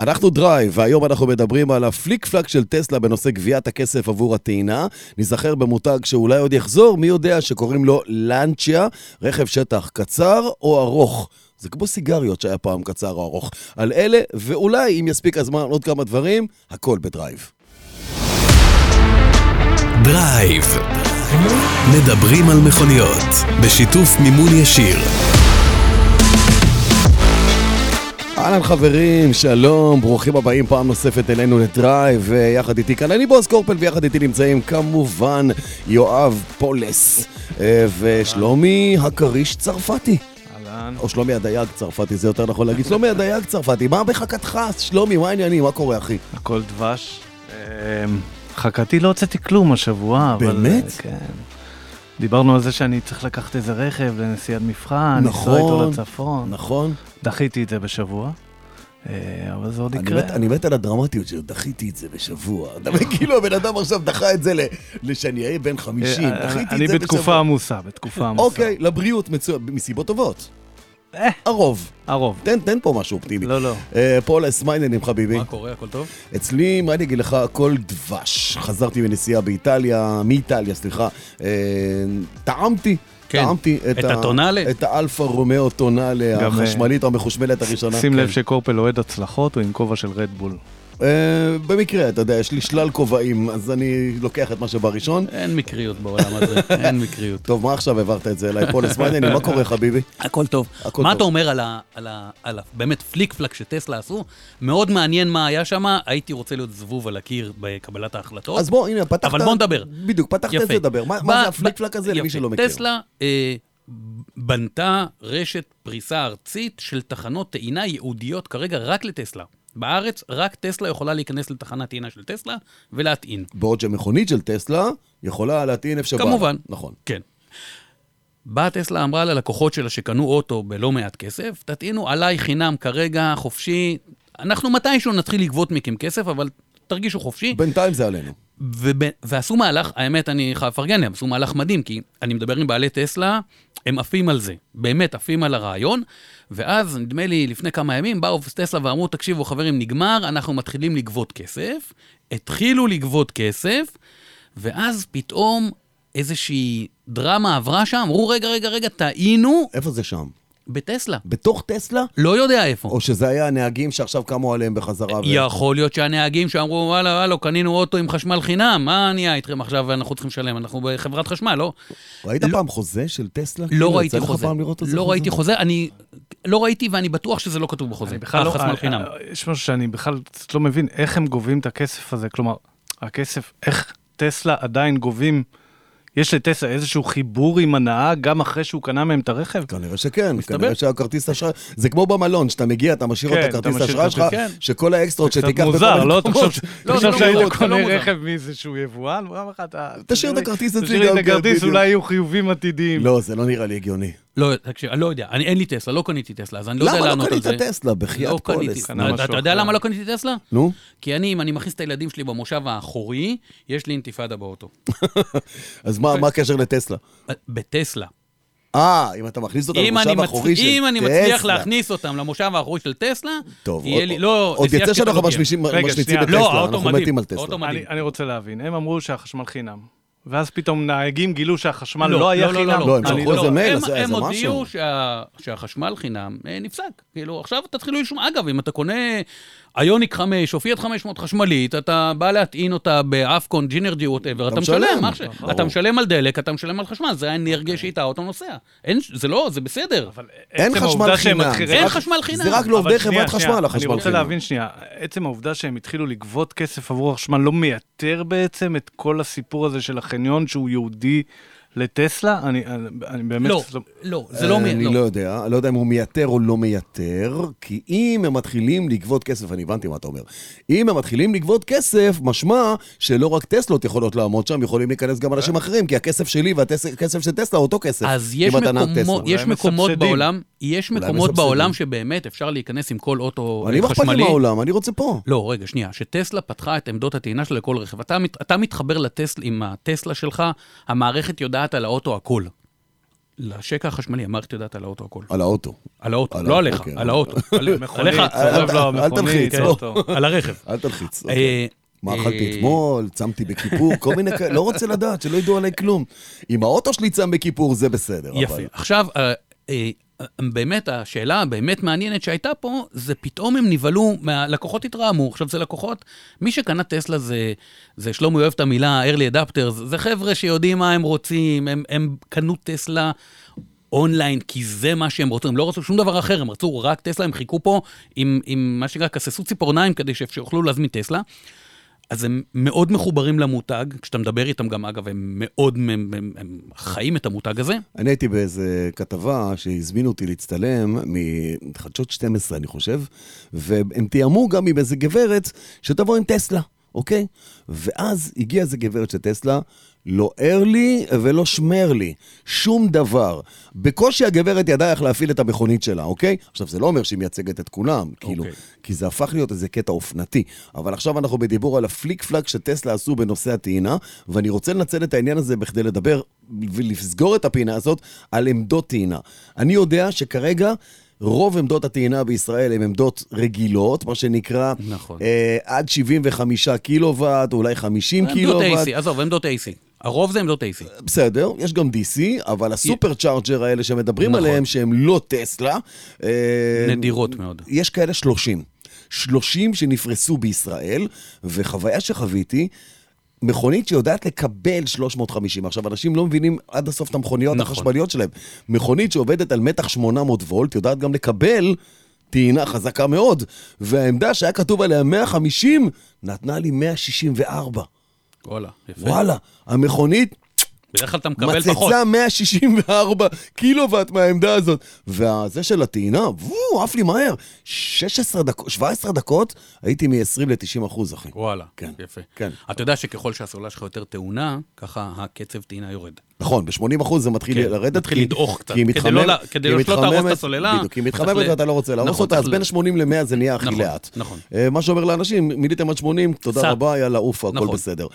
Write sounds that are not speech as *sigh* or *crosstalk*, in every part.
אנחנו דרייב, והיום אנחנו מדברים על הפליק פלאק של טסלה בנושא גביית הכסף עבור הטעינה. ניזכר במותג שאולי עוד יחזור, מי יודע שקוראים לו לנצ'יה, רכב שטח קצר או ארוך. זה כמו סיגריות שהיה פעם קצר או ארוך. על אלה, ואולי אם יספיק הזמן עוד כמה דברים, הכל בדרייב. דרייב. מדברים על מכוניות, בשיתוף מימון ישיר. אהלן חברים, שלום, ברוכים הבאים פעם נוספת אלינו לדרייב, אה, יחד איתי כאן אני בועז קורפל ויחד איתי נמצאים כמובן יואב פולס אה, ושלומי הכריש צרפתי. אהלן. או שלומי הדייג צרפתי, זה יותר נכון להגיד. שלומי הדייג צרפתי, מה בחכתך? שלומי, מה העניינים? מה קורה, אחי? הכל דבש. אמ, חכתי לא הוצאתי כלום השבוע, אבל... באמת? אה, כן. דיברנו על זה שאני צריך לקחת איזה רכב לנסיעת מבחן, לנסוע נכון, איתו לצפון. נכון. דחיתי את זה בשבוע, אה, אבל זה עוד אני יקרה. מת- אני מת על הדרמטיות שלו, דחיתי את זה בשבוע. אתה מבין, כאילו הבן אדם עכשיו דחה את זה ל- לשאני אהיה בן 50, אה, דחיתי את זה אני בשבוע. בתקופה עמוסה, בתקופה עמוסה. אוקיי, לבריאות מצוין, מסיבות טובות. אה. הרוב. הרוב. תן, תן פה משהו אופטימי. לא, לא. אה, פולס, מה העניינים חביבי? מה קורה? הכל טוב? אצלי, מה אני אגיד לך, הכל דבש. חזרתי מנסיעה באיטליה, מאיטליה, סליחה. אה, טעמתי. כן. טעמתי את, את ה- הטונאלה? אה, את האלפה רומאו טונאלה גם, החשמלית או המחושמלת הראשונה. כן. שים לב שקורפל אוהד הצלחות, הוא עם כובע של רדבול. אה, במקרה, אתה יודע, יש לי שלל כובעים, אז אני לוקח את מה שבא ראשון. אין מקריות בעולם הזה, אין מקריות. טוב, מה עכשיו העברת את זה אליי? פולס, מה העניינים? מה קורה, חביבי? *laughs* הכל טוב. הכל מה טוב. אתה אומר על ה... על ה... על ה... באמת פליק פלק שטסלה עשו? מאוד מעניין מה היה שם, הייתי רוצה להיות זבוב על הקיר בקבלת ההחלטות. אז בוא, הנה, פתחת... אבל בוא נדבר. בדיוק, פתחת את זה, דבר. מה מה בא- זה הפליק פלק הזה, יפה. למי שלא מכיר? טסלה אה, בנתה רשת פריסה ארצית של תחנות טעינה ייעודיות כרגע רק לטסלה. בארץ רק טסלה יכולה להיכנס לתחנת טעינה של טסלה ולהטעין. בעוד שמכונית של טסלה יכולה להטעין איפה שבא. לה. כמובן. נכון. כן. באה טסלה, אמרה ללקוחות שלה שקנו אוטו בלא מעט כסף, תטעינו עליי חינם כרגע, חופשי. אנחנו מתישהו נתחיל לגבות מכם כסף, אבל תרגישו חופשי. בינתיים זה עלינו. וב... ועשו מהלך, האמת, אני חייב לפרגן להם, עשו מהלך מדהים, כי אני מדבר עם בעלי טסלה, הם עפים על זה, באמת עפים על הרעיון, ואז, נדמה לי, לפני כמה ימים, באו טסלה ואמרו, תקשיבו, חברים, נגמר, אנחנו מתחילים לגבות כסף. התחילו לגבות כסף, ואז פתאום איזושהי דרמה עברה שם, אמרו, רגע, רגע, רגע, טעינו איפה זה שם? בטסלה. בתוך טסלה? לא יודע איפה. או שזה היה הנהגים שעכשיו קמו עליהם בחזרה? ו- יכול להיות שהנהגים שאמרו, וואלה, וואלה, קנינו אוטו עם חשמל חינם, מה נהיה איתכם עכשיו ואנחנו צריכים לשלם? אנחנו בחברת חשמל, לא? ראית פעם חוזה של טסלה? לא כאילו, ראיתי יצא לך חוזה. פעם לראות את זה? לא ראיתי חוזה, אני לא ראיתי ואני בטוח שזה לא כתוב בחוזה. אני בכלל לא... חשמל חינם. אה, אה, יש משהו שאני בכלל לא מבין, איך הם גובים את הכסף הזה? כלומר, הכסף, איך טסלה עדיין גובים... יש לטסלה איזשהו חיבור עם הנהג גם אחרי שהוא קנה מהם את הרכב? כנראה שכן, כנראה שהכרטיס אשראי, זה כמו במלון, שאתה מגיע, אתה משאיר כן, את הכרטיס אתה משאיר האשראי את שלך, הכרטיס, כן. שכל האקסטרות קצת שתיקח מוזר, לא? תחשוב ש- לא, תחשוב זה לא שהיית מוזר, זה לא קונה מוזר. רכב מאיזשהו יבואן, ואומר לך, אתה... תשאיר את לי- הכרטיס אצלי תשאיר לי את גם, כן, הכרטיס, בדיוק. אולי יהיו חיובים עתידיים. *laughs* לא, זה לא נראה לי הגיוני. לא, תקשיב, אני לא יודע, אני- אין לי טסלה, לא קניתי טסלה, אז אני לא יודע למה לא לענות על קנית זה. טסלה? בחייאת לא קניתי. פולס. קנה משהו אתה יודע אחר. למה לא קניתי טסלה? נו? כי אני, אם אני מכניס את הילדים שלי במושב האחורי, יש לי אינתיפאדה באוטו. אז אוקיי. מה מה הקשר לטסלה? בטסלה. אה, אם אתה מכניס אותה אם אני למושב מצ- האחורי של טסלה. אם אני מצליח להכניס אותם למושב האחורי של טסלה, טוב, יהיה עוד- לי, לא, עוד נסיעה יצא שקטה שאנחנו לא תהיה. משמישים- רגע, משמיצים שנייה. את לא, טסלה, האוטו אנחנו מדהים, מתים על טסלה. האוטו מדהים. אני, אני רוצה להבין, הם אמרו שהחשמל חינם, ואז פתאום נהגים גילו שהחשמל לא, לא, היה לא, לא, חינם. לא, לא, הם אני- שלחו איזה לא, מייל, הם- אז זה- הם זה הודיעו משהו. שה- שהחשמל חינם אה, נפסק. כאילו, עכשיו תתחילו לשמוע. אגב, אם אתה קונה איוניק 5 או פיאט 500 חשמלית, אתה בא להטעין אותה באפקון, ג'ינרג'י, ווטאבר, אתה משלם, משלם. אח שלי. ברור. אתה משלם על דלק, אתה משלם על חשמל, זה האנרגיה שאיתה האוטו נוסע. אין- זה לא, זה בסדר. אוקיי. אבל אין עצם חשמל העובדה שהם חינם. מתחילים- אין רק- חשמל חינם. זה רק לעובדי אבל שנייה, חברת שנייה, חשמל, החשמל אני רוצה חינם. להבין שנייה, עצם העובדה שהם התחילו לגבות כסף עבור החשמל לא מייתר בעצם את כל הסיפור הזה של החניון שהוא יהודי לטסלה? אני, אני, אני באמת... לא, לא, זה לא... מי- אני לא. לא יודע, לא יודע אם הוא מייתר או לא מייתר, כי אם הם מתחילים לגבות כסף, אני הבנתי מה אתה אומר. אם הם מתחילים לגבות כסף, משמע שלא רק טסלות יכולות לעמוד שם, יכולים להיכנס גם אנשים אחרים, כי הכסף שלי והכסף של טסלה אותו כסף. אה? אז יש אם אתה נהג מקומות, טסלה. יש אולי הם מקומות מסבסדים. בעולם, יש אולי הם מקומות מסבסדים. בעולם שבאמת אפשר להיכנס עם כל אוטו אני אה, מה אכפת לי חשמלי. מהעולם, אני רוצה פה. לא, רגע, שנייה. שטסלה פתחה את עמדות הטעינה שלה לכל רכב. אתה, מת- אתה מתחבר לטסלה עם הטסלה שלך, המערכת יודעת על האוטו הכל. לשקע החשמלי, המערכת יודעת על האוטו הכל. על האוטו. על האוטו, על לא האוטו, עליך, כן. על האוטו. *laughs* על- *laughs* עליך, מכונית, סובב לו אל- אל המכונית, תלחיץ, לא. טוב. על הרכב. אל תלחיץ. אה, אוקיי. מה אה, אכלתי אתמול, צמתי בכיפור, כל מיני כאלה, לא רוצה לדעת, שלא ידעו עליי כלום. אם האוטו שלי צם בכיפור, זה בסדר. יפה. אבל- עכשיו, אה, אה, אה, באמת, השאלה הבאמת מעניינת שהייתה פה, זה פתאום הם נבהלו, מה- לקוחות התרעמו. עכשיו, זה לקוחות, מי שקנה טסלה זה, זה שלומי אוהב את המילה early adapters, זה חבר'ה שיודעים מה הם רוצים, הם, הם קנו טסלה. אונליין, כי זה מה שהם רוצים, הם לא רצו שום דבר אחר, הם רצו רק טסלה, הם חיכו פה עם, עם מה שנקרא, כססו ציפורניים כדי שיוכלו להזמין טסלה. אז הם מאוד מחוברים למותג, כשאתה מדבר איתם גם, אגב, הם מאוד, הם, הם, הם חיים את המותג הזה. אני הייתי באיזה כתבה שהזמינו אותי להצטלם מחדשות 12, אני חושב, והם תיאמו גם עם איזה גברת שתבוא עם טסלה, אוקיי? ואז הגיעה איזה גברת של טסלה, לא ער לי ולא שמר לי, שום דבר. בקושי הגברת ידעה איך להפעיל את המכונית שלה, אוקיי? עכשיו, זה לא אומר שהיא מייצגת את כולם, כאילו, אוקיי. כי זה הפך להיות איזה קטע אופנתי. אבל עכשיו אנחנו בדיבור על הפליק פלאק שטסלה עשו בנושא הטעינה, ואני רוצה לנצל את העניין הזה בכדי לדבר ולסגור את הפינה הזאת על עמדות טעינה. אני יודע שכרגע... רוב עמדות הטעינה בישראל הן עמדות רגילות, מה שנקרא, נכון. אה, עד 75 קילו וואט, אולי 50 קילו עמדות וואט. AC, עזוב, עמדות AC. הרוב זה עמדות AC. בסדר, יש גם DC, אבל הסופר צ'ארג'ר האלה שמדברים נכון. עליהם, שהם לא טסלה, אה, נדירות מאוד. יש כאלה 30. 30 שנפרסו בישראל, וחוויה שחוויתי, מכונית שיודעת לקבל 350. עכשיו, אנשים לא מבינים עד הסוף את המכוניות נכון. החשמליות שלהם. מכונית שעובדת על מתח 800 וולט, יודעת גם לקבל טעינה חזקה מאוד. והעמדה שהיה כתוב עליה 150, נתנה לי 164. וואלה, יפה. וואלה, המכונית בדרך כלל אתה מקבל פחות. מצצה 164 קילוואט מהעמדה הזאת. והזה של הטעינה, וואו, עף לי מהר. 16 דקות, 17 דקות, הייתי מ-20 ל-90 אחוז, אחי. וואלה, כן, יפה. כן. אתה יודע שככל שהסוללה שלך יותר טעונה, ככה הקצב טעינה יורד. נכון, ב-80 אחוז זה מתחיל כן, לרדת. מתחיל כי- לדעוך קצת, כי היא כדי מתחממת- לא לה- כי כדי היא לא- שלא תהרוס את מתחממת- הסוללה, בדיוק, כי היא צריך מתחממת ל- ואתה לא רוצה להרוס נכון, אותה, אז צריך בין ל- 80 ל-100 זה נהיה הכי נכון, לאט. נכון. אה, מה שאומר לאנשים, מילאתם עד 80, תודה קצת. רבה, יאללה, עוף, הכל נכון. בסדר.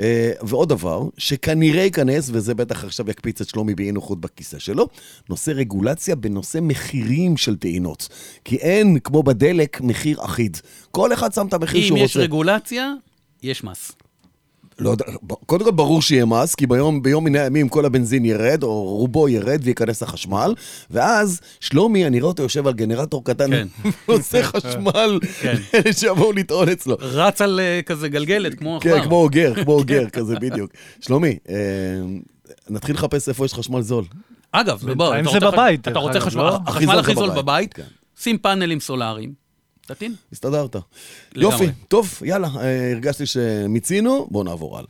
אה, ועוד דבר, שכנראה ייכנס, וזה בטח עכשיו יקפיץ את שלומי באי נוחות בכיסא שלו, נושא רגולציה בנושא מחירים של טעינות. כי אין, כמו בדלק, מחיר אחיד. כל אחד שם את המחיר אם שהוא יש רוצה. רגולציה, יש מס. לא יודע, ב- קודם כל ברור שיהיה מס, כי ביום, ביום מן הימים כל הבנזין ירד, או רובו ירד וייכנס לחשמל, ואז שלומי, אני רואה אותו יושב על גנרטור קטן, *laughs* כן. ועושה חשמל, *laughs* כן. לאלה שיבואו לטעון אצלו. רץ על אה, כזה גלגלת, כמו כן, עכבר. כמו *laughs* אוגר, כמו אוגר כזה בדיוק. שלומי, אה, נתחיל לחפש איפה יש חשמל זול. אגב, בוא, בינתיים אתה זה רוצה- בבית, אתה דרך רוצה אגב, חשמל- לא? הכי החשמל זול הכי זה זול בבית, בבית, כן. שים פאנלים סולאריים, תטעין. הסתדרת. לגמרי. יופי, טוב, יאללה, אה, הרגשתי שמיצינו, בואו נעבור הלאה.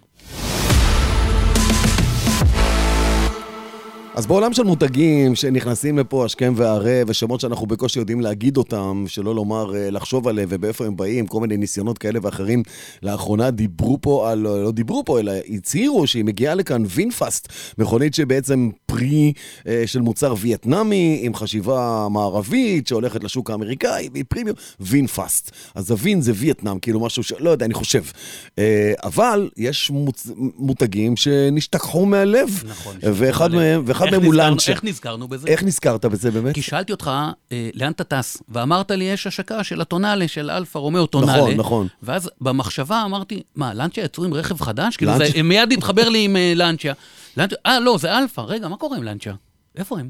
אז בעולם של מותגים שנכנסים לפה השכם והערב, ושמות שאנחנו בקושי יודעים להגיד אותם, שלא לומר אה, לחשוב עליהם ובאיפה הם באים, כל מיני ניסיונות כאלה ואחרים. לאחרונה דיברו פה, על, לא דיברו פה, אלא הצהירו שהיא מגיעה לכאן וינפאסט, מכונית שבעצם פרי אה, של מוצר וייטנאמי, עם חשיבה מערבית, שהולכת לשוק האמריקאי, והיא פרימיום, וינפאסט. אז הווין זה וייטנאם, כאילו משהו שלא יודע, אני חושב. אה, אבל יש מוצ... מותגים שנשתכחו מהלב. נכון, ואחד אבל- מהם, ואחד איך מהם הוא נזכרנו- לאנצ'ה. איך נזכרנו בזה? איך נזכרת בזה באמת? כי שאלתי אותך, אה, לאן אתה טס? ואמרת לי, יש השקה של הטונאלה, של אלפה רומאו טונאלה. נכון, נכון. ואז במחשבה אמרתי, מה, לאנצ'ה יצאו עם רכב חדש? כאילו, לאנצ'ה- זה מיד התחבר לי עם אה, לאנצ'ה. לאנצ'ה- אה, לא, זה אלפה. רגע, מה קורה עם לאנצ'ה? איפה הם?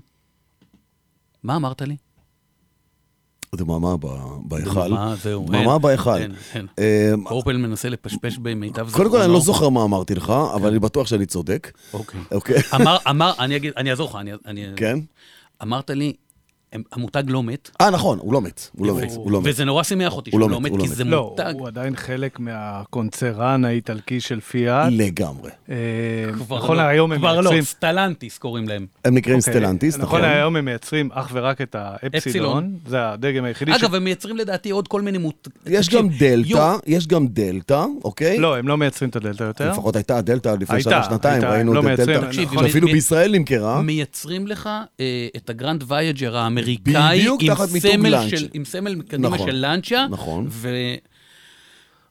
מה אמרת לי? דממה ב- בהיכל. דממה, זהו, דממה אין, בהיכל. אין, אין. אמ, קורפל מנסה לפשפש במיטב זכרונו. קודם כל, אני לא זוכר מה אמרתי לך, אבל כן. אני בטוח שאני צודק. אוקיי. אוקיי. אמר, אמר, אני אגיד, אני אעזור לך, אני... אני... כן? אמרת לי, הם- המותג לא מת. אה, נכון, הוא לא מת. הוא לא מת, הוא לא מת. וזה נורא שימח אותי הוא שהוא לא לא מת, מת, הוא לא כי מת. זה לא, מותג. הוא עדיין חלק מהקונצרן האיטלקי של פיאט. לגמרי. אה, כבר נכון, לא. היום הם כבר לא, מייצרים... סטלנטיס קוראים להם. הם נקראים אוקיי. סטלנטיס, אוקיי. נכון? נכון, היום הם מייצרים אך ורק את האפסילון, אפסילון. זה הדגם היחידי ש... אוקיי. אגב, הם מייצרים לדעתי עוד כל מיני מות... יש תקשיב, גם יו, דלתא, יש גם דלתא, אוקיי? לא, הם לא מייצרים את הדלתא יותר. לפחות הייתה הדלתא לפני הייתה, שנה, שנתיים, הייתה, ראינו לא את מייצרים, הדלתא. תקשיב, נכון, שאפילו מ- בישראל נמכרה. מייצרים לך אה, את הגרנד וייג'ר האמריקאי, בדיוק עם תחת מיתוג סמל לאנצ'ה. של- עם סמל קדימה נכון, של לאנצ'ה. נכון. ו-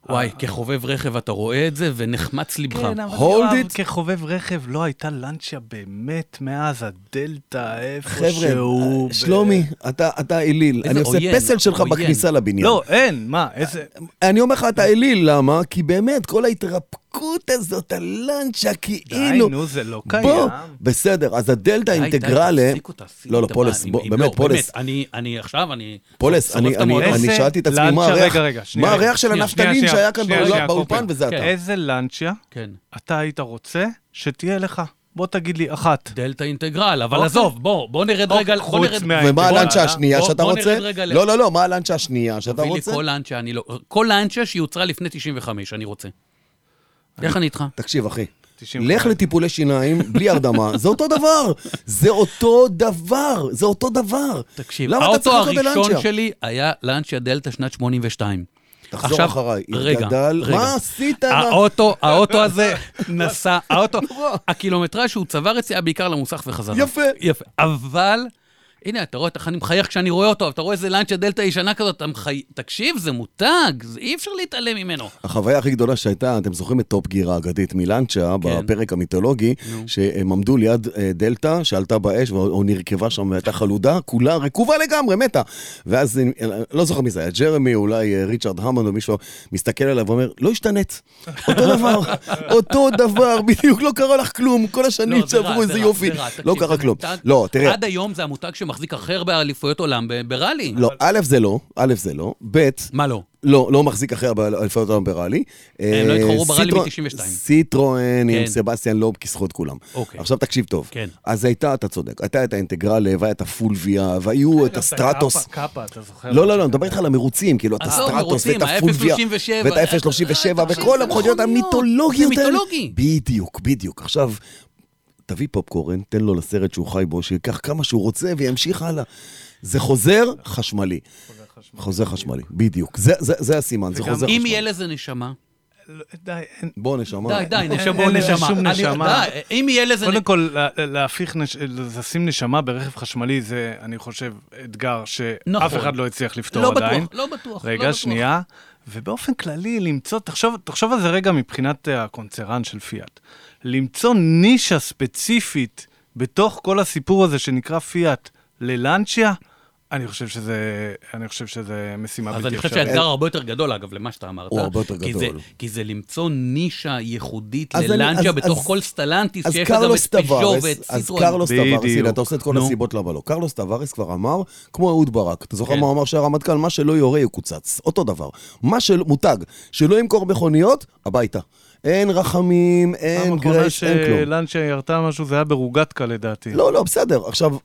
וואי, כחובב רכב אתה רואה את זה, ונחמץ לבך. כן, אבל Hold יואב, it. כחובב רכב, לא הייתה לנצ'יה באמת מאז הדלתא, איפה חבר'ה, אה, שהוא... ב- שלומי, אתה אתה אליל. איזה אני עושה עוין, פסל שלך עוין. בכניסה לבניין. לא, אין, מה, איזה... אני אומר לך, אתה אליל, למה? כי באמת, כל ההתרפקות הזאת, הלנצ'ה, כאילו... די, נו, זה לא בוא, קיים. בסדר, אז הדלתא די, די, אינטגרלה... תפסיקו, תפסיקו לא, לא, את פולס, הבעל. בוא, אם- באמת, לא, פולס. אני, אני עכשיו, אני... פולס, שורף אני, את אני, המועדון. אני איזה שאלתי את עצמי מה לנצ'ה- הריח, רגע, רגע, שנייה, מה רגע. הריח של שנייה, הנפטלין שנייה, שהיה כאן שנייה, בעולם- שנייה, באולפן, קופל. וזה אתה. כן. איזה לנצ'יה כן. אתה היית רוצה שתהיה לך? בוא תגיד לי, אחת. דלתא אינטגרל, אבל אוקיי. עזוב, בוא, בוא נרד אוקיי, רגע... בוא חוץ נרד- מה- ומה בוא, הלאנצ'ה אה, השנייה בוא- שאתה בוא נרד רוצה? רגע ל- לא, לא, לא, מה הלאנצ'ה השנייה שאתה תביא לי רוצה? כל לאנצ'ה, אני לא... כל לאנצ'ה שיוצרה לפני 95, אני רוצה. איך אני איתך? תקשיב, אחי. 95. לך לטיפולי שיניים בלי הרדמה, זה אותו דבר. זה אותו דבר, זה אותו דבר. תקשיב, למה אתה האוטו צריך לעשות הראשון בלאנצ'ה? שלי היה לאנצ'ה דלתא שנת 82. תחזור עכשיו- אחריי, רגע, התגדל- רגע. מה עשית? האוטו, *laughs* האוטו הזה נסע, האוטו, הקילומטרז שהוא צבר אצלי היה בעיקר למוסך וחזרה. יפה. יפה. אבל, הנה, אתה רואה, אתה- אני מחייך כשאני רואה אותו, אבל אתה רואה איזה לאנצ'ה דלתא ישנה כזאת, אתה מחי... תקשיב, זה מותג, זה- אי אפשר להתעלם ממנו. החוויה הכי גדולה שהייתה, אתם זוכרים את טופ גיר האגדית מלנצ'ה, כן. בפרק המיתולוגי, שהם עמדו ליד אה, דלתא שעלתה באש או או נרקבה שם והייתה חלודה, כולה רקובה לגמרי, מתה. ואז, אה, לא זוכר מי זה היה, ג'רמי, אולי אה, ריצ'רד המונד או מישהו, מסתכל עליו ואומר, לא השתנית. אותו *laughs* דבר, אותו דבר, בדיוק לא קרה לך כלום, כל השנים לא, זה רע, שעברו זה איזה רע, יופי, זה רע, תקשיב, לא קרה זה כלום. מותג- לא, תראה, עד היום זה המותג שמחזיק הכי הרבה אליפויות עולם ב- בראלי. לא, א' זה לא, א' זה לא, ב', מה לא? לא, לא מחזיק אחרי האליפויות העולם בראלי. הם לא אה, התחרו בראלי סיטרו- מ- 92. סיטרואן עם כן. סבסטיאן לוב כיסחו את כולם. אוקיי. עכשיו תקשיב טוב. כן. אז הייתה, אתה צודק, הייתה את האינטגרלה, והיה את הפולביה, והיו את הסטרטוס. קאפה, קאפה, אתה אה, זוכר? לא, אוקיי. לא, לא, אני מדבר איתך על המרוצים, כאילו, את עזוב, הסטרטוס מרוצים, ואת הפולביה, ה-F-37, ואת ה-F-37, אה, וכל זה המכוניות מכוניות, המיתולוגיות זה האלה. מיתולוגי. בדיוק, בדיוק. עכשיו, תביא פופקורן, תן לו לסרט שהוא חי בו, שייקח כמה שהוא רוצה וימשיך הלאה. זה חוזר חשמלי. חוזר חשמלי, בדיוק. זה- זה זה הסימן, זה וגם חוזר אם יהיה חשמלי. לזה נשמה, לא, די, אין. בוא, נשמה. די, די, נשמה, אין לזה נשמה. שום אני- נשמה. די, אם יהיה לזה... קודם כל, לה- להפיך, נש- לשים נשמה ברכב חשמלי זה, אני חושב, אתגר שאף נכון. אחד לא הצליח לא לפתור בטוח, עדיין. לא בטוח, לא רגע, בטוח. שנייה. ובאופן כללי, למצוא, תחשוב, תחשוב על זה רגע מבחינת אה, הקונצרן של פיאט. למצוא נישה ספציפית בתוך כל הסיפור הזה שנקרא פיאט ללנצ'יה, אני חושב שזה, אני חושב שזה משימה בלתי אז אני אפשרית. חושב שהאתגר הרבה יותר גדול, אגב, למה שאתה אמרת. הוא הרבה יותר כי גדול. זה- כי זה למצוא נישה ייחודית אז אני- ללנג'ה אז- בתוך אז- כל סטלנטיס, אז שיש לזה גם קרלוס את פיז'ו טווארס, ואת אז סיטרואן. קרלוס טווארס, בדיוק. הנה, אתה עושה את כל נו. הסיבות למה לא. קרלוס טווארס כבר אמר, כמו אהוד ברק, אתה זוכר כן. מה הוא אמר שהרמטכ"ל, מה שלא יורה יקוצץ, אותו דבר. מה של... מותג, שלא ימכור מכוניות, הביתה. אין רחמים, אין גרייס, אין פעם כלום. אחרונה שלנצ'ה ירתה משהו זה היה ברוגטקה לדעתי. לא, לא, בסדר. עכשיו,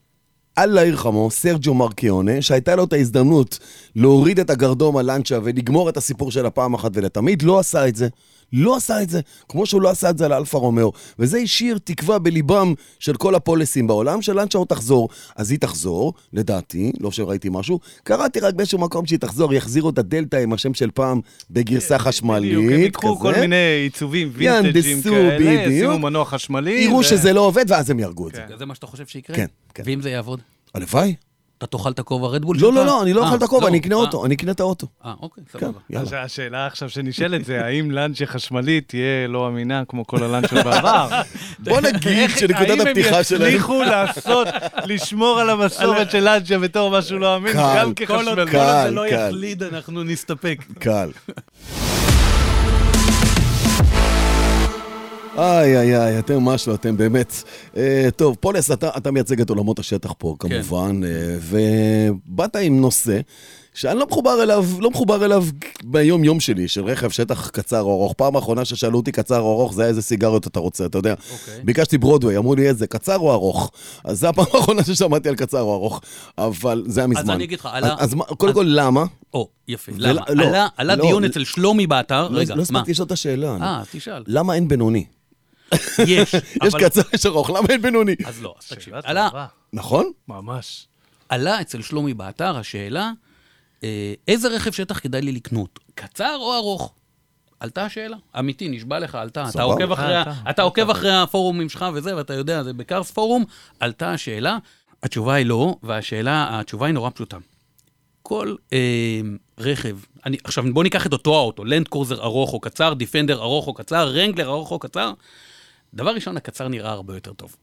אללה ירחמו, סרג'ו מרקיונה, שהייתה לו את ההזדמנות להוריד את הגרדום על לנצ'ה ולגמור את הסיפור שלה פעם אחת ולתמיד, לא עשה את זה. לא עשה את זה, כמו שהוא לא עשה את זה על אלפה רומאו. וזה השאיר תקווה בליבם של כל הפוליסים בעולם, שלנצ'ה עוד תחזור. אז היא תחזור, לדעתי, לא שראיתי משהו. קראתי רק באיזשהו מקום שהיא תחזור, יחזירו את הדלתא עם השם של פעם בגרסה חשמלית. כן, בדיוק, הם ייקחו כל כזה. מיני עיצובים וינטג'ים יהנדסו, כאלה, בדיוק. ישימו מנוע חשמלי. יראו ו- שזה לא עובד, ואז הם יהרגו את זה. אה. כן. זה מה שאתה חושב שיקרה? כן, כן. ואם זה יעבוד? הלוואי. אתה תאכל את הכובע רדבול לא, לא, לא, אני לא אה, אוכל את הכובע, לא, אני אקנה אה, אותו, אני אקנה את האוטו. אה, אוקיי, כן, סבבה. יאללה. אז השאלה עכשיו שנשאלת זה, האם לאנצ'ה חשמלית תהיה לא אמינה כמו כל הלאנצ' של *laughs* בעבר? בוא נגיד איך- שנקודת הפתיחה האם הם שלהם... יצליחו לעשות, לשמור על המסורת של לאנצ'ה בתור משהו לא אמין, קל, גם כל עוד כחשמלי? כל עוד זה קל, לא קל. יחליד, אנחנו נסתפק. קל. איי, איי, איי, אתם משהו, אתם באמת. אה, טוב, פולס, אתה, אתה מייצג את עולמות השטח פה, כן. כמובן, אה, ובאת עם נושא שאני לא מחובר אליו, לא מחובר אליו ביום-יום שלי, של רכב שטח קצר או ארוך. פעם האחרונה ששאלו אותי קצר או ארוך, זה היה איזה סיגריות אתה רוצה, אתה יודע. אוקיי. ביקשתי ברודווי, אמרו לי איזה, קצר או ארוך? אז זו הפעם *laughs* האחרונה ששמעתי על קצר או ארוך, אבל זה היה מזמן. אני אגיד לך, אז, עלה- אז מה- קודם כל, למה? או, יפה. ולא- למה? לא, עלה- עלה לא, דיון לא- אצל שלומי באתר, לא- רגע, לא מה? הספקתי לשאול את השאלה. אני- אה, אז תשאל. למה אין בינוני? *laughs* יש יש. אבל- קצר, יש ארוך, למה אין בינוני? אז לא, אז תקשיב. שאלה עלה- טובה, נכון? ממש. עלה אצל שלומי באתר השאלה, אה, איזה רכב שטח כדאי לי לקנות, קצר או ארוך? עלתה השאלה, אמיתי, נשבע לך, עלתה. אתה סבבה. עוקב אחרי, עלתה, אתה עוקב אחרי הפורומים שלך וזה, ואתה יודע, זה בקארס פורום, עלתה השאלה, התשובה היא לא, והשאלה, התשובה היא נורא פשוטה. כל אה, רכב, אני, עכשיו בוא ניקח את אותו האוטו, לנד קרוזר ארוך או קצר, דיפנדר ארוך או קצר, רנגלר ארוך או קצר, דבר ראשון, הקצר נראה הרבה יותר טוב.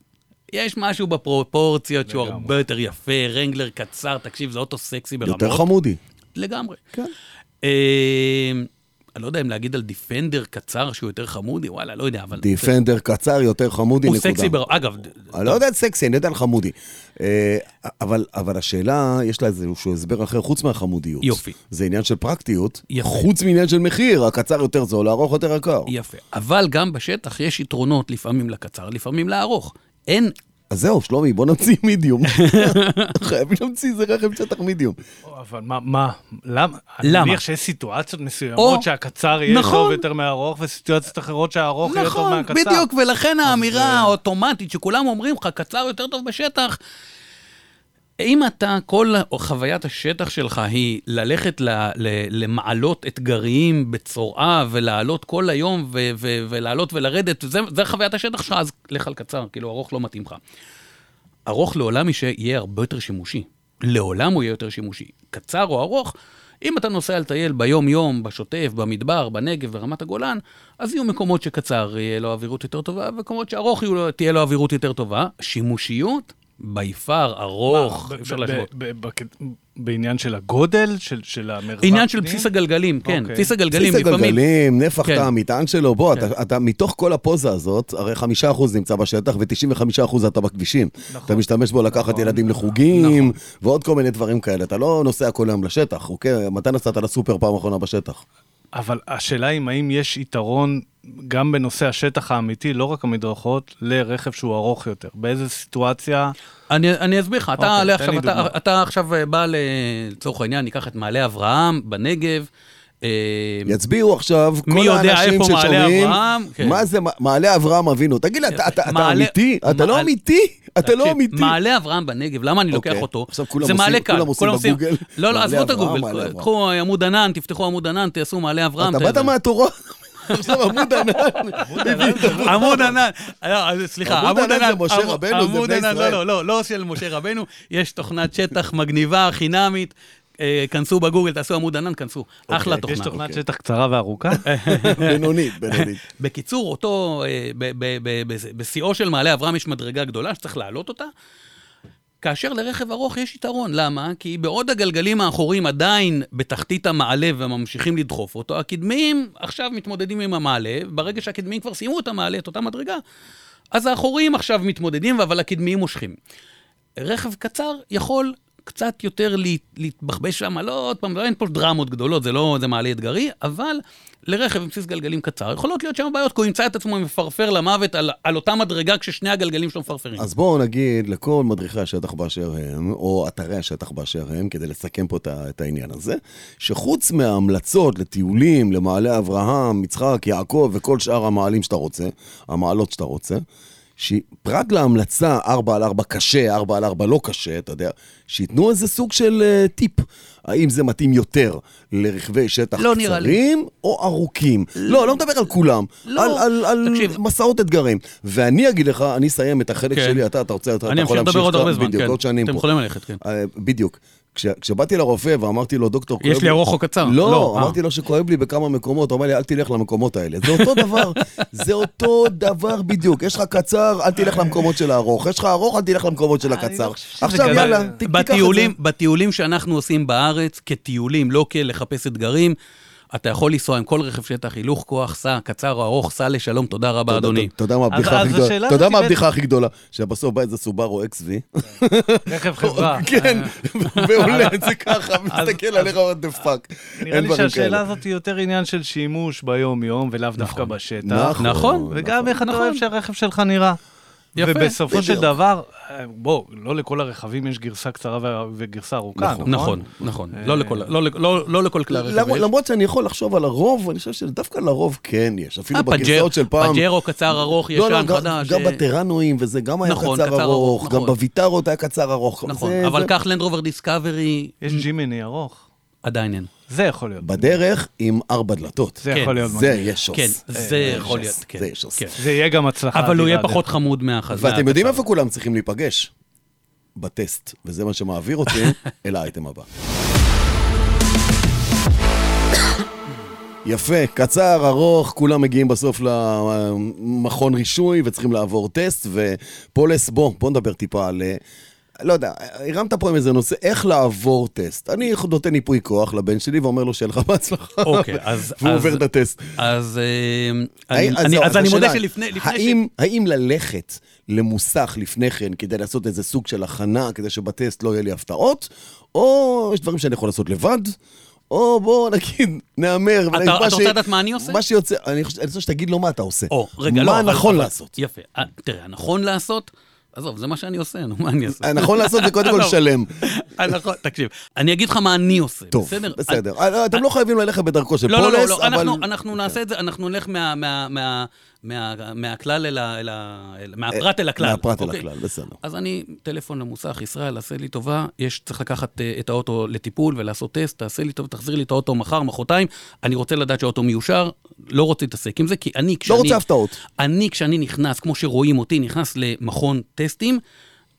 יש משהו בפרופורציות שהוא לגמרי. הרבה יותר יפה, רנגלר קצר, תקשיב, זה אוטו סקסי ברמות. יותר חמודי. לגמרי. כן. אה, אני לא יודע אם להגיד על דיפנדר קצר שהוא יותר חמודי, וואלה, לא יודע, אבל... דיפנדר קצר, יותר חמודי, הוא נקודה. סקסי ברמות. אגב, אני לא יודע על סקסי, אני יודע על חמודי. אה, אבל, אבל השאלה, יש לה איזשהו הסבר אחר חוץ מהחמודיות. יופי. זה עניין של פרקטיות, יפה. חוץ מעניין של מחיר, הקצר יותר זול, הארוך יותר יקר. יפה. אבל גם בשטח יש יתרונות לפעמים לקצר, לפעמים לארוך. אין... אז זהו, שלומי, בוא נמציא *laughs* מידיום. חייבים להמציא איזה רכב שטח מידיום. אבל מה, מה, למה? אני למה? מניח שיש סיטואציות או- מסוימות שהקצר יהיה נכון. טוב יותר מהארוך, וסיטואציות אחרות שהארוך יהיה טוב מהקצר. בדיוק, ולכן האמירה האוטומטית שכולם אומרים לך, קצר יותר טוב בשטח. אם אתה, כל חוויית השטח שלך היא ללכת ל, ל, למעלות אתגריים בצורעה ולעלות כל היום ו, ו, ולעלות ולרדת, זה, זה חוויית השטח שלך, אז לך על קצר, כאילו ארוך לא מתאים לך. ארוך לעולם היא שיהיה הרבה יותר שימושי. לעולם הוא יהיה יותר שימושי. קצר או ארוך, אם אתה נוסע לטייל ביום-יום, בשוטף, במדבר, בנגב, ברמת הגולן, אז יהיו מקומות שקצר יהיה לו אווירות יותר טובה, ומקומות שארוך יהיו לו- תהיה לו אווירות יותר טובה. שימושיות, ביפר, ארוך, ב- אפשר ב- להשוות. ב- ב- בק- בעניין של הגודל, של- של המרחב. עניין של פנים? בסיס הגלגלים, כן, אוקיי. בסיס הגלגלים בסיס לפעמים. הגלגלים, נפח כן. תא המטען שלו, בוא, אתה- אתה מתוך כל הפוזה הזאת, הרי 5% נמצא בשטח ו-95% אתה בכבישים. נכון. אתה משתמש בו לקחת ילדים לחוגים, ועוד כל מיני דברים כאלה. אתה לא נוסע כל היום לשטח, אוקיי? מתי נסעת לסופר פעם אחרונה בשטח? אבל השאלה היא, האם יש יתרון גם בנושא השטח האמיתי, לא רק המדרכות, לרכב שהוא ארוך יותר? באיזה סיטואציה? אני, אני אסביר לך, אתה, אוקיי, עולה תן עכשיו, לי אתה, דוגמה. אתה עכשיו אה, בא ל- לצורך העניין, ניקח את מעלה אברהם בנגב. אה, יצביעו עכשיו מי כל יודע האנשים איפה מעלה ששומעים, אברהם? כן. מה זה מע- מעלה אברהם אבינו? תגיד לי, אתה- אתה אתה מעלה- אמיתי? אתה לא מעלה- אמיתי? אתה לא תקשיב, אמיתי? מעלה אברהם בנגב, למה אני לוקח אוקיי. אותו? עכשיו כולם זה עושים- מעלה קל, כולם עושים בגוגל, לא, לא, מעלה עזבו את אברהם, הגוגל, מעלה אברהם. קחו אה, עמוד ענן, תפתחו עמוד ענן, תעשו מעלה אברהם. אתה באת תעזרו. *laughs* מהתורה? עכשיו עמוד ענן. עמוד ענן, לא, אז סליחה, עמוד עמוד ענן זה ענן, משה עמוד- רבנו, זה עמוד בני ענן, ישראל. לא, לא, לא, לא של משה רבנו, יש תוכנת שטח מגניבה, חינמית, אה, כנסו בגוגל, תעשו עמוד ענן, כנסו, אחלה אוקיי, יש תוכנה. אוקיי, יש תוכנת שטח קצרה וארוכה? בינונית, בינונית. בקיצור, אותו, אה, ב- ב- ב- ב- בשיאו של מעלה אברהם יש מדרגה גדולה שצריך להעלות אותה. כאשר לרכב ארוך יש יתרון, למה? כי בעוד הגלגלים האחוריים עדיין בתחתית המעלה וממשיכים לדחוף אותו, הקדמיים עכשיו מתמודדים עם המעלה, ברגע שהקדמיים כבר סיימו את המעלה, את אותה מדרגה, אז האחוריים עכשיו מתמודדים, אבל הקדמיים מושכים. רכב קצר יכול קצת יותר להת- להתבחבש שם, לא עוד פעם, לא, אין פה דרמות גדולות, זה לא, זה מעלה אתגרי, אבל לרכב עם בסיס גלגלים קצר, יכולות להיות שם בעיות, כי הוא ימצא את עצמו מפרפר למוות על, על אותה מדרגה כששני הגלגלים שלו מפרפרים. אז בואו נגיד לכל מדריכי השטח באשר הם, או אתרי השטח באשר הם, כדי לסכם פה את ה- את העניין הזה, שחוץ מההמלצות לטיולים, למעלה אברהם, יצחק, יעקב וכל שאר המעלים שאתה רוצה, המעלות שאתה רוצה, שפרט להמלצה 4 על 4 קשה, 4 על 4 לא קשה, אתה יודע, שייתנו איזה סוג של אה, טיפ. האם זה מתאים יותר לרכבי שטח לא נראה לי. קצרים או ארוכים? לא, לא מדבר על כולם. לא, על, על, על תקשיב. מסעות אתגרים. ואני אגיד לך, אני אסיים את החלק כן. שלי, אתה, אתה רוצה, אתה אתה אני יכול להמשיך אמשיך לדבר עוד אתה- הרבה זמן, בדיוק, עוד כן. שנים אתם פה. יכולים ללכת, כן. אה, בדיוק. כש- כשבאתי לרופא ואמרתי לו, דוקטור, יש כואב לי ארוך או קצר? לא, לא, אה. אמרתי לו שכואב לי בכמה מקומות, הוא אמר לי, אל תלך למקומות האלה. זה אותו *laughs* דבר, זה אותו דבר בדיוק. יש לך קצר, אל תלך אה. למקומות של הארוך. יש לך ארוך, אל תלך למקומות של לא הקצר. שזה עכשיו, כזה. יאללה, ת- תיקח את זה. בטיולים, בטיולים שאנחנו עושים בארץ, כטיולים, לא כלחפש אתגרים, אתה יכול לנסוע עם כל רכב שטח, הילוך כוח, סע, קצר או ארוך, סע לשלום, תודה רבה, אתה- אדוני. אתה- אתה יודע מה הבדיחה אז הכי גדולה? השאלה אתה יודע הזאת מה היא הבדיחה הכי גדולה? שבסוף בא איזה סובארו XV, *laughs* רכב *laughs* חברה. *laughs* *laughs* אה, כן, ועולה את זה ככה, אז- מסתכל אז- עליך, what the fuck. נראה אין לי דברים שהשאלה כאלה. הזאת היא יותר עניין של שימוש ביום-יום, ולאו דווקא בשטח. נכון. נכון, וגם איך אתה נכון. אוהב שהרכב שלך נראה. יפה. ובסופו של בדיוק. דבר, אה, בוא, לא לכל הרכבים יש גרסה קצרה ו- וגרסה ארוכה, נכון? נכון, נכון, לא לכל- לא לכ- לא- לא לכל כלי הרכב למרות- יש. למרות שאני יכול לחשוב על הרוב, אני חושב שדווקא לרוב כן יש. אפילו אה, בגרסאות של פעם. פג'רו קצר, ארוך, לא, לא, ישן, גם- חדש. גם אה, בטרנואים וזה, גם היה נכון, קצר קצר ארוך, ארוך, גם נכון. בוויטרות היה קצר ארוך. נכון, זה- אבל זה- קח לנד רובר דיסקאברי, יש ג'ימיני ארוך. עדיין אין. זה יכול להיות. בדרך עם ארבע דלתות. זה כן, יכול להיות זה מגניב. יהיה שוס. אה, כן, זה יכול שוס, להיות, כן. זה יהיה שוס. כן. זה יהיה גם הצלחה. אבל הוא יהיה אדירה, פחות דרך חמוד מהחזק. ואתם יודעים איפה כולם *laughs* צריכים להיפגש? בטסט, וזה מה שמעביר אותי אל האייטם הבא. יפה, קצר, ארוך, כולם מגיעים בסוף למכון רישוי וצריכים לעבור טסט, ופולס, בוא, בוא נדבר טיפה על... אה, לא יודע, הרמת פה עם איזה נושא, איך לעבור טסט. אני נותן ייפוי כוח לבן שלי ואומר לו שיהיה לך בהצלחה. אוקיי, אז- והוא אז- עובר את הטסט. אז אה, אני- האם- אני- זהו, אז אני מודה השאלה היא, שלפני... לפני ש- האם, האם ללכת למוסך לפני כן כדי לעשות איזה סוג של הכנה, כדי שבטסט לא יהיה לי הפתעות, או יש דברים שאני יכול לעשות לבד, או בוא נגיד, *laughs* נהמר. אתה- ונגיד, מה אתה רוצה לדעת מה אני עושה? מה שיוצא, אני חושב אני חושב שתגיד לו מה אתה עושה. או, רגע, לא, מה אבל- נכון אבל- לעשות. יפה. אה, תראה, הנכון לעשות, עזוב, זה מה שאני עושה, נו, מה אני אעשה? הנכון אה, נכון לעשות זה קודם כל *laughs* לא. לשלם. הנכון, תקשיב, אני אגיד לך מה אני עושה, טוב, בסדר? בסדר. אתם לא חייבים ללכת בדרכו של לא, לא, לא, פולס, לא, אנחנו- אבל... אוקיי. אנחנו נעשה את זה, אנחנו נלך מה- מה- מה- מה- מהכלל אל ה... אל ה- אל- מהפרט אל הכלל. אה, מהפרט אל אוקיי? הכלל, בסדר. אז אני, טלפון למוסך, ישראל, עשה לי טובה, יש, צריך לקחת אה, את האוטו לטיפול ולעשות טסט, תעשה לי טוב, תחזיר לי את האוטו מחר, מחרתיים, אני רוצה לדעת שהאוטו מיושר, לא רוצה להתעסק עם זה, כי אני, כשאני... לא רוצה הפתעות. אני, כשאני נכנס, כמו שרואים אותי, נכנס למכון טסטים,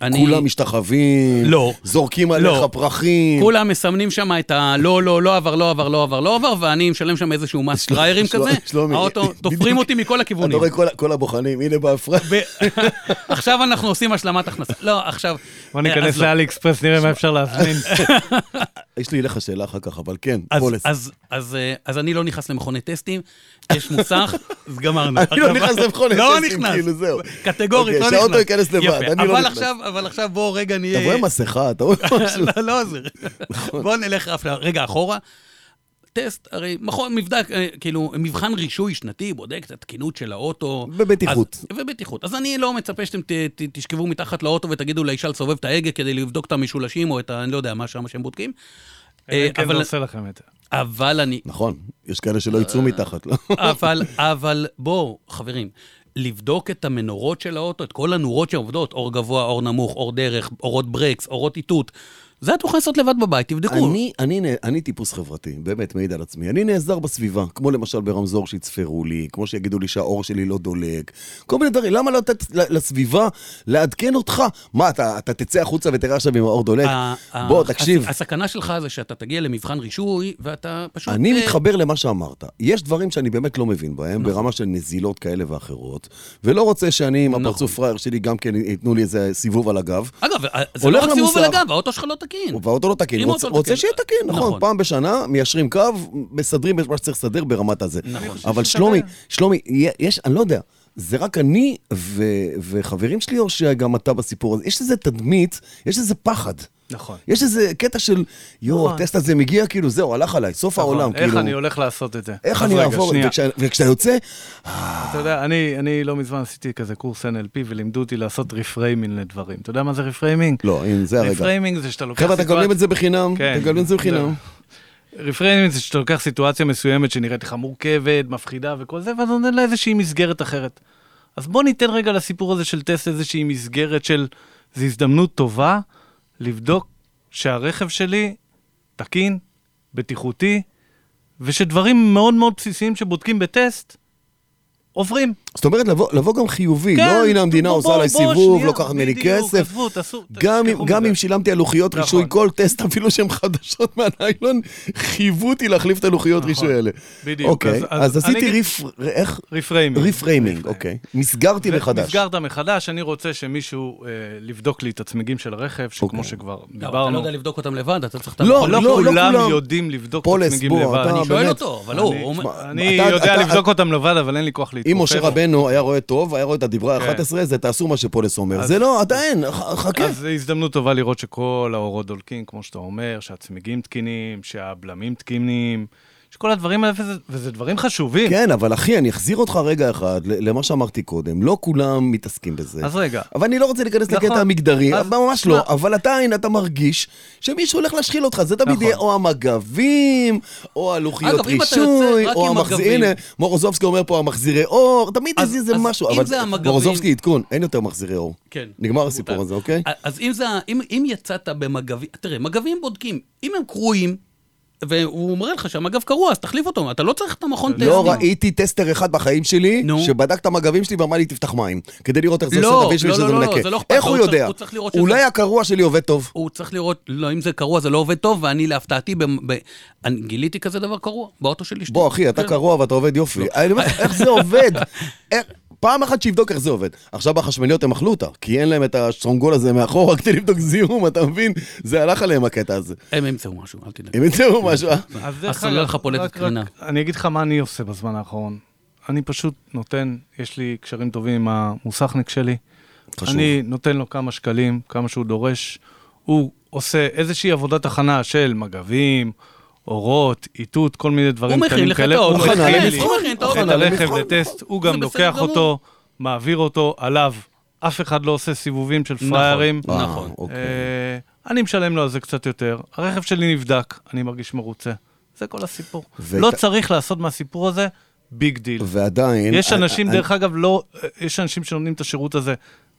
אני... כולם משתחווים, לא. זורקים לא. עליך פרחים. כולם מסמנים שם את ה... לא, לא, לא עבר, לא עבר, לא עבר, לא עבר, ואני משלם שם איזשהו מס דריירים של- כזה, שלומי, האוטו, תופרים בדיוק. אותי מכל אתה הכיוונים. רואה כל- כל הבוחנים, הנה בהפרעה. *laughs* ב- *laughs* עכשיו אנחנו עושים השלמת הכנסה. לא, עכשיו... בוא אז ניכנס לא. אה, לאלי אקספרס, נראה מה אפשר להזמין. יש לי אליך שאלה אחר כך, אבל כן, אז, פולס. אז, אז, אה, אז אני לא נכנס למכוני טסטים, יש מוסך, אז גמרנו. *laughs* אני לא עכשיו- נכנס למכוני לא טסטים, נכנס. כאילו, זהו. קטגורית, אוקיי, לא נכנס. שהאוטו ייכנס לבד, יפה, אני לא אבל נכנס. עכשיו, אה, אבל עכשיו בואו רגע נהיה... אתה רואה מסכה, *laughs* אתה רואה משהו. לא, לא עוזר. נכון. בואו נלך אף ל- רגע אחורה. טסט, הרי מכון, מבדק, אה, כאילו, מבחן רישוי שנתי, בודק את התקינות של האוטו. ובטיחות. אז, ובטיחות. אז אני לא מצפה שאתם ת, ת, תשכבו מתחת לאוטו ותגידו לאישה לסובב את ההגה כדי לבדוק את המשולשים או את ה... אני לא יודע, מה שם שהם בודקים. אה, כן, זה אבל, עושה לכם את זה. אבל אני... נכון, יש כאלה שלא אה, יצאו מתחת, לא? *laughs* אבל, אבל בואו, חברים, לבדוק את המנורות של האוטו, את כל הנורות שעובדות, אור גבוה, אור נמוך, אור דרך, אורות ברקס, אורות איתות, זה את יכולה לעשות לבד בבית, תבדקו. אני, אני, נה- אני טיפוס חברתי, באמת, מעיד על עצמי. אני נעזר בסביבה, כמו למשל ברמזור שיצפרו לי, כמו שיגידו לי שהאור שלי לא דולק, כל מיני דברים. למה לא לתת ל- לסביבה לעדכן אותך? מה, אתה, אתה תצא החוצה ותראה עכשיו אם האור דולק? ה- ה- בוא, תקשיב. הס- הסכנה שלך זה שאתה תגיע למבחן רישוי, ואתה פשוט... אני אה, מתחבר למה שאמרת. יש דברים שאני באמת לא מבין בהם, ברמה של נזילות כאלה ואחרות, ולא רוצה שאני עם הפרצוף פראייר שלי גם כן ייתנו לי איזה סיבוב על הגב. אגב, אה, זה לא הולך רק סיבוב על למוסך. הגב, האוטו שלך לא תקין. והאוטו לא תקין, אם רוצה, האוטו לא רוצה תקין, שיהיה תקין, נכון, נכון. פעם בשנה מיישרים קו, מסדרים את מה שצריך לסדר ברמת הזה. נכון. אבל שזה שלומי, שווה. שלומי, יש, אני לא יודע, זה רק אני ו, וחברים שלי, או שגם אתה בסיפור הזה, יש איזה תדמית, יש איזה פחד. נכון. יש איזה קטע של, יואו, נכון. הטסט הזה מגיע, כאילו, זהו, הלך עליי, סוף העולם, איך כאילו. אני הולך לעשות את זה? איך אז אני רגע, אעבור? שנייה. וכשה- וכשאתה יוצא, אתה יודע, אני, אני לא מזמן עשיתי כזה קורס NLP ולימדו אותי לעשות רפריימינג לדברים. אתה יודע מה זה רפריימינג? לא, הנה, זה הרגע. רפריימינג זה שאתה לוקח חבר'ה, אתם מקבלים את זה בחינם, כן. אתם מקבלים את זה בחינם. רפריימינג זה שאתה לוקח סיטואציה מסוימת שנראית לך מורכבת, מפחידה וכל זה, ואז נותן לה איזושהי מסגרת אחרת. אז בוא ניתן רגע לסיפור הזה של טסט איזושהי מסגרת של, זו הזדמנות טובה לבדוק שהרכב שלי תקין, בטיחותי, ושדברים מאוד מאוד בסיסיים שבודקים בטסט, עוברים. זאת אומרת, לבוא, לבוא גם חיובי, כן, לא הנה המדינה בוא, עושה בוא, עליי בוא, סיבוב, שנייה, לוקחת ממני בדיוק, כסף. עזבו, תעשו- ת- גם, אם- תשכחו גם מזה. אם שילמתי על לוחיות נכון. רישוי כל טסט, אפילו שהן חדשות מהניילון, חייבו אותי להחליף את הלוחיות רישוי האלה. נכון. בדיוק, אוקיי, אז- אז, אז אני עשיתי אגיד- ריפ... איך? רפריימינג. ריפריימינג, אוקיי. מסגרתי מחדש. נסגרת מחדש, אני רוצה שמישהו אה, לבדוק לי את הצמיגים של הרכב, אוקיי. שכמו שכבר לא, אתה לא דיברנו, יודע לבדוק אותם לבד, אתה צריך את לא, המכון. לא לא כולם כולם. יודעים לבדוק את פולס, הצמיגים בוא, לבד. אתה- אני שואל באמת. אותו, אבל לא, הוא אני- אומר... אני אתה- יודע אתה- לבדוק אותם לבד, אבל אין לי כוח להתכופף. אם משה רבנו היה רואה טוב, היה רואה את הדברה כן. ה-11, זה תעשו מה שפולס אומר. זה לא, עדיין, ח- חכה. אז זו הזדמנות טובה לראות שכל האורות דולקים, כמו שאתה אומר, שהצמיגים תקינים, שהבלמים תקינים, שכל הדברים האלה, וזה- וזה דברים חשובים. כן, אבל אחי, אני אחזיר אותך רגע אחד ל- למה שאמרתי קודם. לא כולם מתעסקים בזה. אז רגע. אבל אני לא רוצה להיכנס נכון. לקטע המגדרי, אז- ממש לא, לא. אבל עדיין אתה מרגיש שמישהו הולך להשחיל אותך, זה תמיד נכון. יהיה או המגבים, או הלוחיות אגב, אם אתה יוצא רישוי, רק או עם המחזיר, מגבים- הנה, מורוזובסקי אומר פה המחזירי אור, תמיד אז- איזה איזה אז משהו, אם אבל זה המגבים- מורוזובסקי עדכון, אין יותר מחזירי אור. כן. אה, נגמר הסיפור הזה, אוקיי? אז אם זה... אם אם יצאת במגבים... תראה, מגבים בודקים. אם הם קרועים, והוא אומר לך שהמגב קרוע, אז תחליף אותו, אתה לא צריך את המכון טסטים. לא ראיתי טסטר אחד בחיים שלי, נו. שבדק את המגבים שלי ואמר לי, תפתח מים, כדי לראות איך זה לא, עושה את הוויש לא, שלי שזה לא, לא, מנקה. זה לא אכפת איך לו, הוא הוא צריך- יודע? הוא צריך לראות אולי שזה- הקרוע שלי עובד טוב. הוא צריך לראות, לא, אם זה קרוע זה לא עובד טוב, ואני להפתעתי, במ- ב- אני גיליתי כזה דבר קרוע, באוטו של אשתי. בוא, אחי, אתה כן. קרוע ואתה עובד יופי. אני *laughs* אומר לך, איך זה עובד? איך- פעם אחת שיבדוק איך זה עובד. עכשיו החשמליות הם אכלו אותה, כי אין להם את השטרונגול הזה מאחורה כדי לבדוק זיהום, אתה מבין? זה הלך עליהם הקטע הזה. הם ימצאו משהו, אל תדאג. הם ימצאו משהו, אה? אז דרך הסוללה אגב, לך פולטת רק- רק- קרינה. אני אגיד לך מה אני עושה בזמן האחרון. אני פשוט נותן, יש לי קשרים טובים עם המוסכניק שלי. חשוב. אני נותן לו כמה שקלים, כמה שהוא דורש. הוא עושה איזושהי עבודת הכנה של מגבים, אורות, איתות, כל מיני דברים הוא מכין קטנים לך כאלה. את האוטו, הוא מכין מכין לי לבחון, את את האוטו. הרכב לבחון. לטסט, הוא זה גם בסדר לוקח גמור. אותו, מעביר אותו עליו. אף אחד לא עושה סיבובים של פראיירים. נכון. אה, אוקיי. אה, אני משלם לו על זה קצת יותר, הרכב שלי נבדק, אני מרגיש מרוצה. זה כל הסיפור. ואת- לא צריך לעשות מהסיפור הזה ביג דיל. ועדיין... יש אני- אנשים, אני- דרך אגב, לא, אה, יש אנשים שנותנים את השירות הזה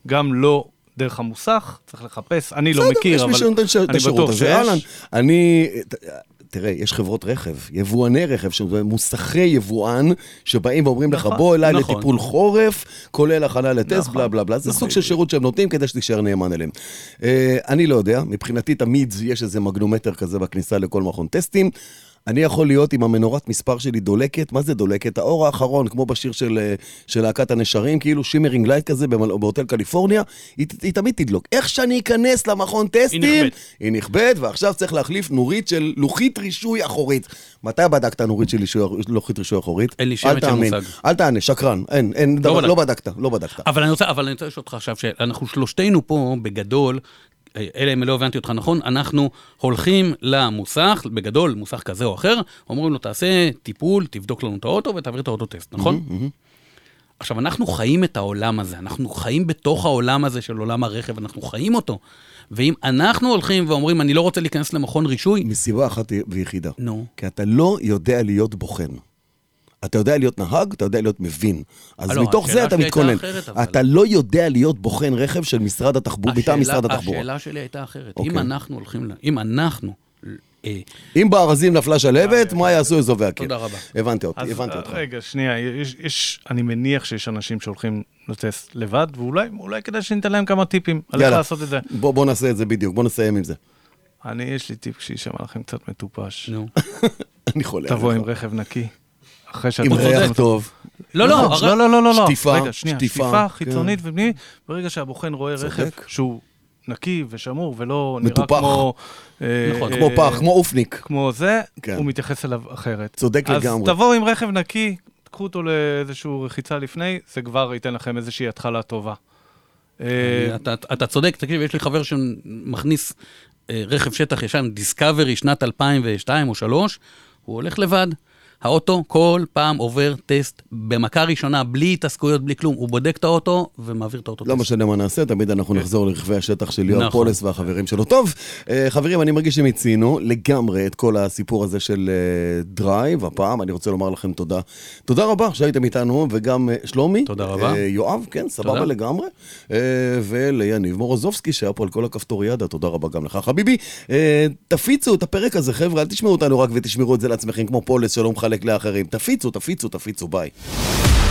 גם לא דרך המוסך, צריך לחפש, אני לא בסדר, מכיר, יש מי אבל שנותן ש- את אני השירות בטוח הזה, אהלן. שיש. אני... ת- תראה, יש חברות רכב, יבואני רכב, שזה מוסכי יבואן, שבאים ואומרים לך, נכון, בוא אליי נכון. לטיפול חורף, כולל הכנה לטסט, בלה בלה בלה. זה נכון. סוג של שירות שהם נותנים כדי שתישאר נאמן אליהם. אה, אני לא יודע, מבחינתי תמיד יש איזה מגנומטר כזה בכניסה לכל מכון טסטים. אני יכול להיות עם המנורת מספר שלי דולקת, מה זה דולקת? האור האחרון, כמו בשיר של, אה, של להקת הנשרים, כאילו שימרינג לייט כזה במל- בהוטל קליפורניה, היא, ת- היא תמיד תדלוק. איך שאני אכנס למכון טסטים, נכבדת. היא נכבדת, ועכשיו צריך להחליף נורית של לוחית רישוי אחורית. מתי בדקת נורית של לישוי- לוחית רישוי אחורית? אין לי שמץ אל של תאמין. מושג. אל תענה, שקרן, אין, אין, דבר- בדקתי. לא בדקת, לא בדקת. אבל אני רוצה, אבל אני רוצה לשאול אותך עכשיו, שאנחנו שלושתנו פה, בגדול, אה, אלא אם לא הבנתי אותך נכון, אנחנו הולכים למוסך, בגדול, מוסך כזה או אחר, אומרים לו, תעשה טיפול, תבדוק לנו את האוטו ותעביר את האוטוטסט, נכון? עכשיו, אנחנו חיים את העולם הזה, אנחנו חיים בתוך העולם הזה של עולם הרכב, אנחנו חיים אותו. ואם אנחנו הולכים ואומרים, אני לא רוצה להיכנס למכון רישוי, מסיבה אחת ויחידה. נו. כי אתה לא יודע להיות בוחן. אתה יודע להיות נהג, אתה יודע להיות מבין. אז לא, מתוך השאלה זה אתה שלי הייתה מתכונן. אחרת, אבל. אתה לא יודע להיות בוחן רכב של משרד התחבורה, מטעם השאלה- משרד התחבורה. השאלה שלי הייתה אחרת. אוקיי. אם אנחנו הולכים, ל- אם אנחנו... אה, אם בארזים נפלה שלהבת, מה יעשו אזובי הקיר? תודה רבה. אה, הבנתי אותי, אז אה, הבנתי אותך. רגע, שנייה, יש, יש, אני מניח שיש אנשים שהולכים לטסט לבד, ואולי אולי כדאי שניתן להם כמה טיפים על איך יאללה, לעשות את זה. בוא בוא נעשה את זה בדיוק, בוא נסיים עם זה. *laughs* אני, יש לי טיפ שיישמע לכם קצת מטופש. *laughs* נו. אני חולה. תבוא עליך. עם רכב נקי. אחרי שאתה... עם עושה ריח את- טוב. לא, לא, הר- לא, לא, לא, לא, לא. שטיפה, רגע, שנייה, שטיפה, כן. שטיפה חיצונית ופנימית. ברגע שהבוחן רואה רכב צודק. שהוא נקי ושמור ולא נראה מטופח. כמו... אה, נכון. אה, כמו פח, כמו אופניק. כמו זה, כן. הוא מתייחס אליו אחרת. צודק לגמרי. אז תבואו עם רכב נקי, קחו אותו לאיזשהו רחיצה לפני, זה כבר ייתן לכם איזושהי התחלה טובה. אה, אתה, אתה צודק, תקשיב, יש לי חבר שמכניס אה, רכב שטח ישן, דיסקאברי, שנת 2002 או 3, הוא הולך לבד. האוטו כל פעם עובר טסט במכה ראשונה, בלי התעסקויות, בלי כלום. הוא בודק את האוטו ומעביר את האוטו לא טסט. משנה מה נעשה, תמיד אנחנו נחזור לרכבי השטח של יואב כן. נכון. פולס והחברים שלו. טוב, אה, חברים, אני מרגיש שמיצינו לגמרי את כל הסיפור הזה של אה, דרייב. הפעם אני רוצה לומר לכם תודה. תודה רבה שהייתם איתנו, וגם אה, שלומי. תודה רבה. אה, יואב, כן, סבבה תודה. לגמרי. אה, וליניב מורוזובסקי, שהיה פה על כל הכפתוריאדה, תודה רבה גם לך, חביבי. אה, תפיצו את הפרק הזה, חבר'ה, אל תשמעו אותנו רק ותשמרו את זה לעצמכם, כמו פולס שלא מחלק לאחרים. תפיצו, תפיצו, תפיצו, ביי.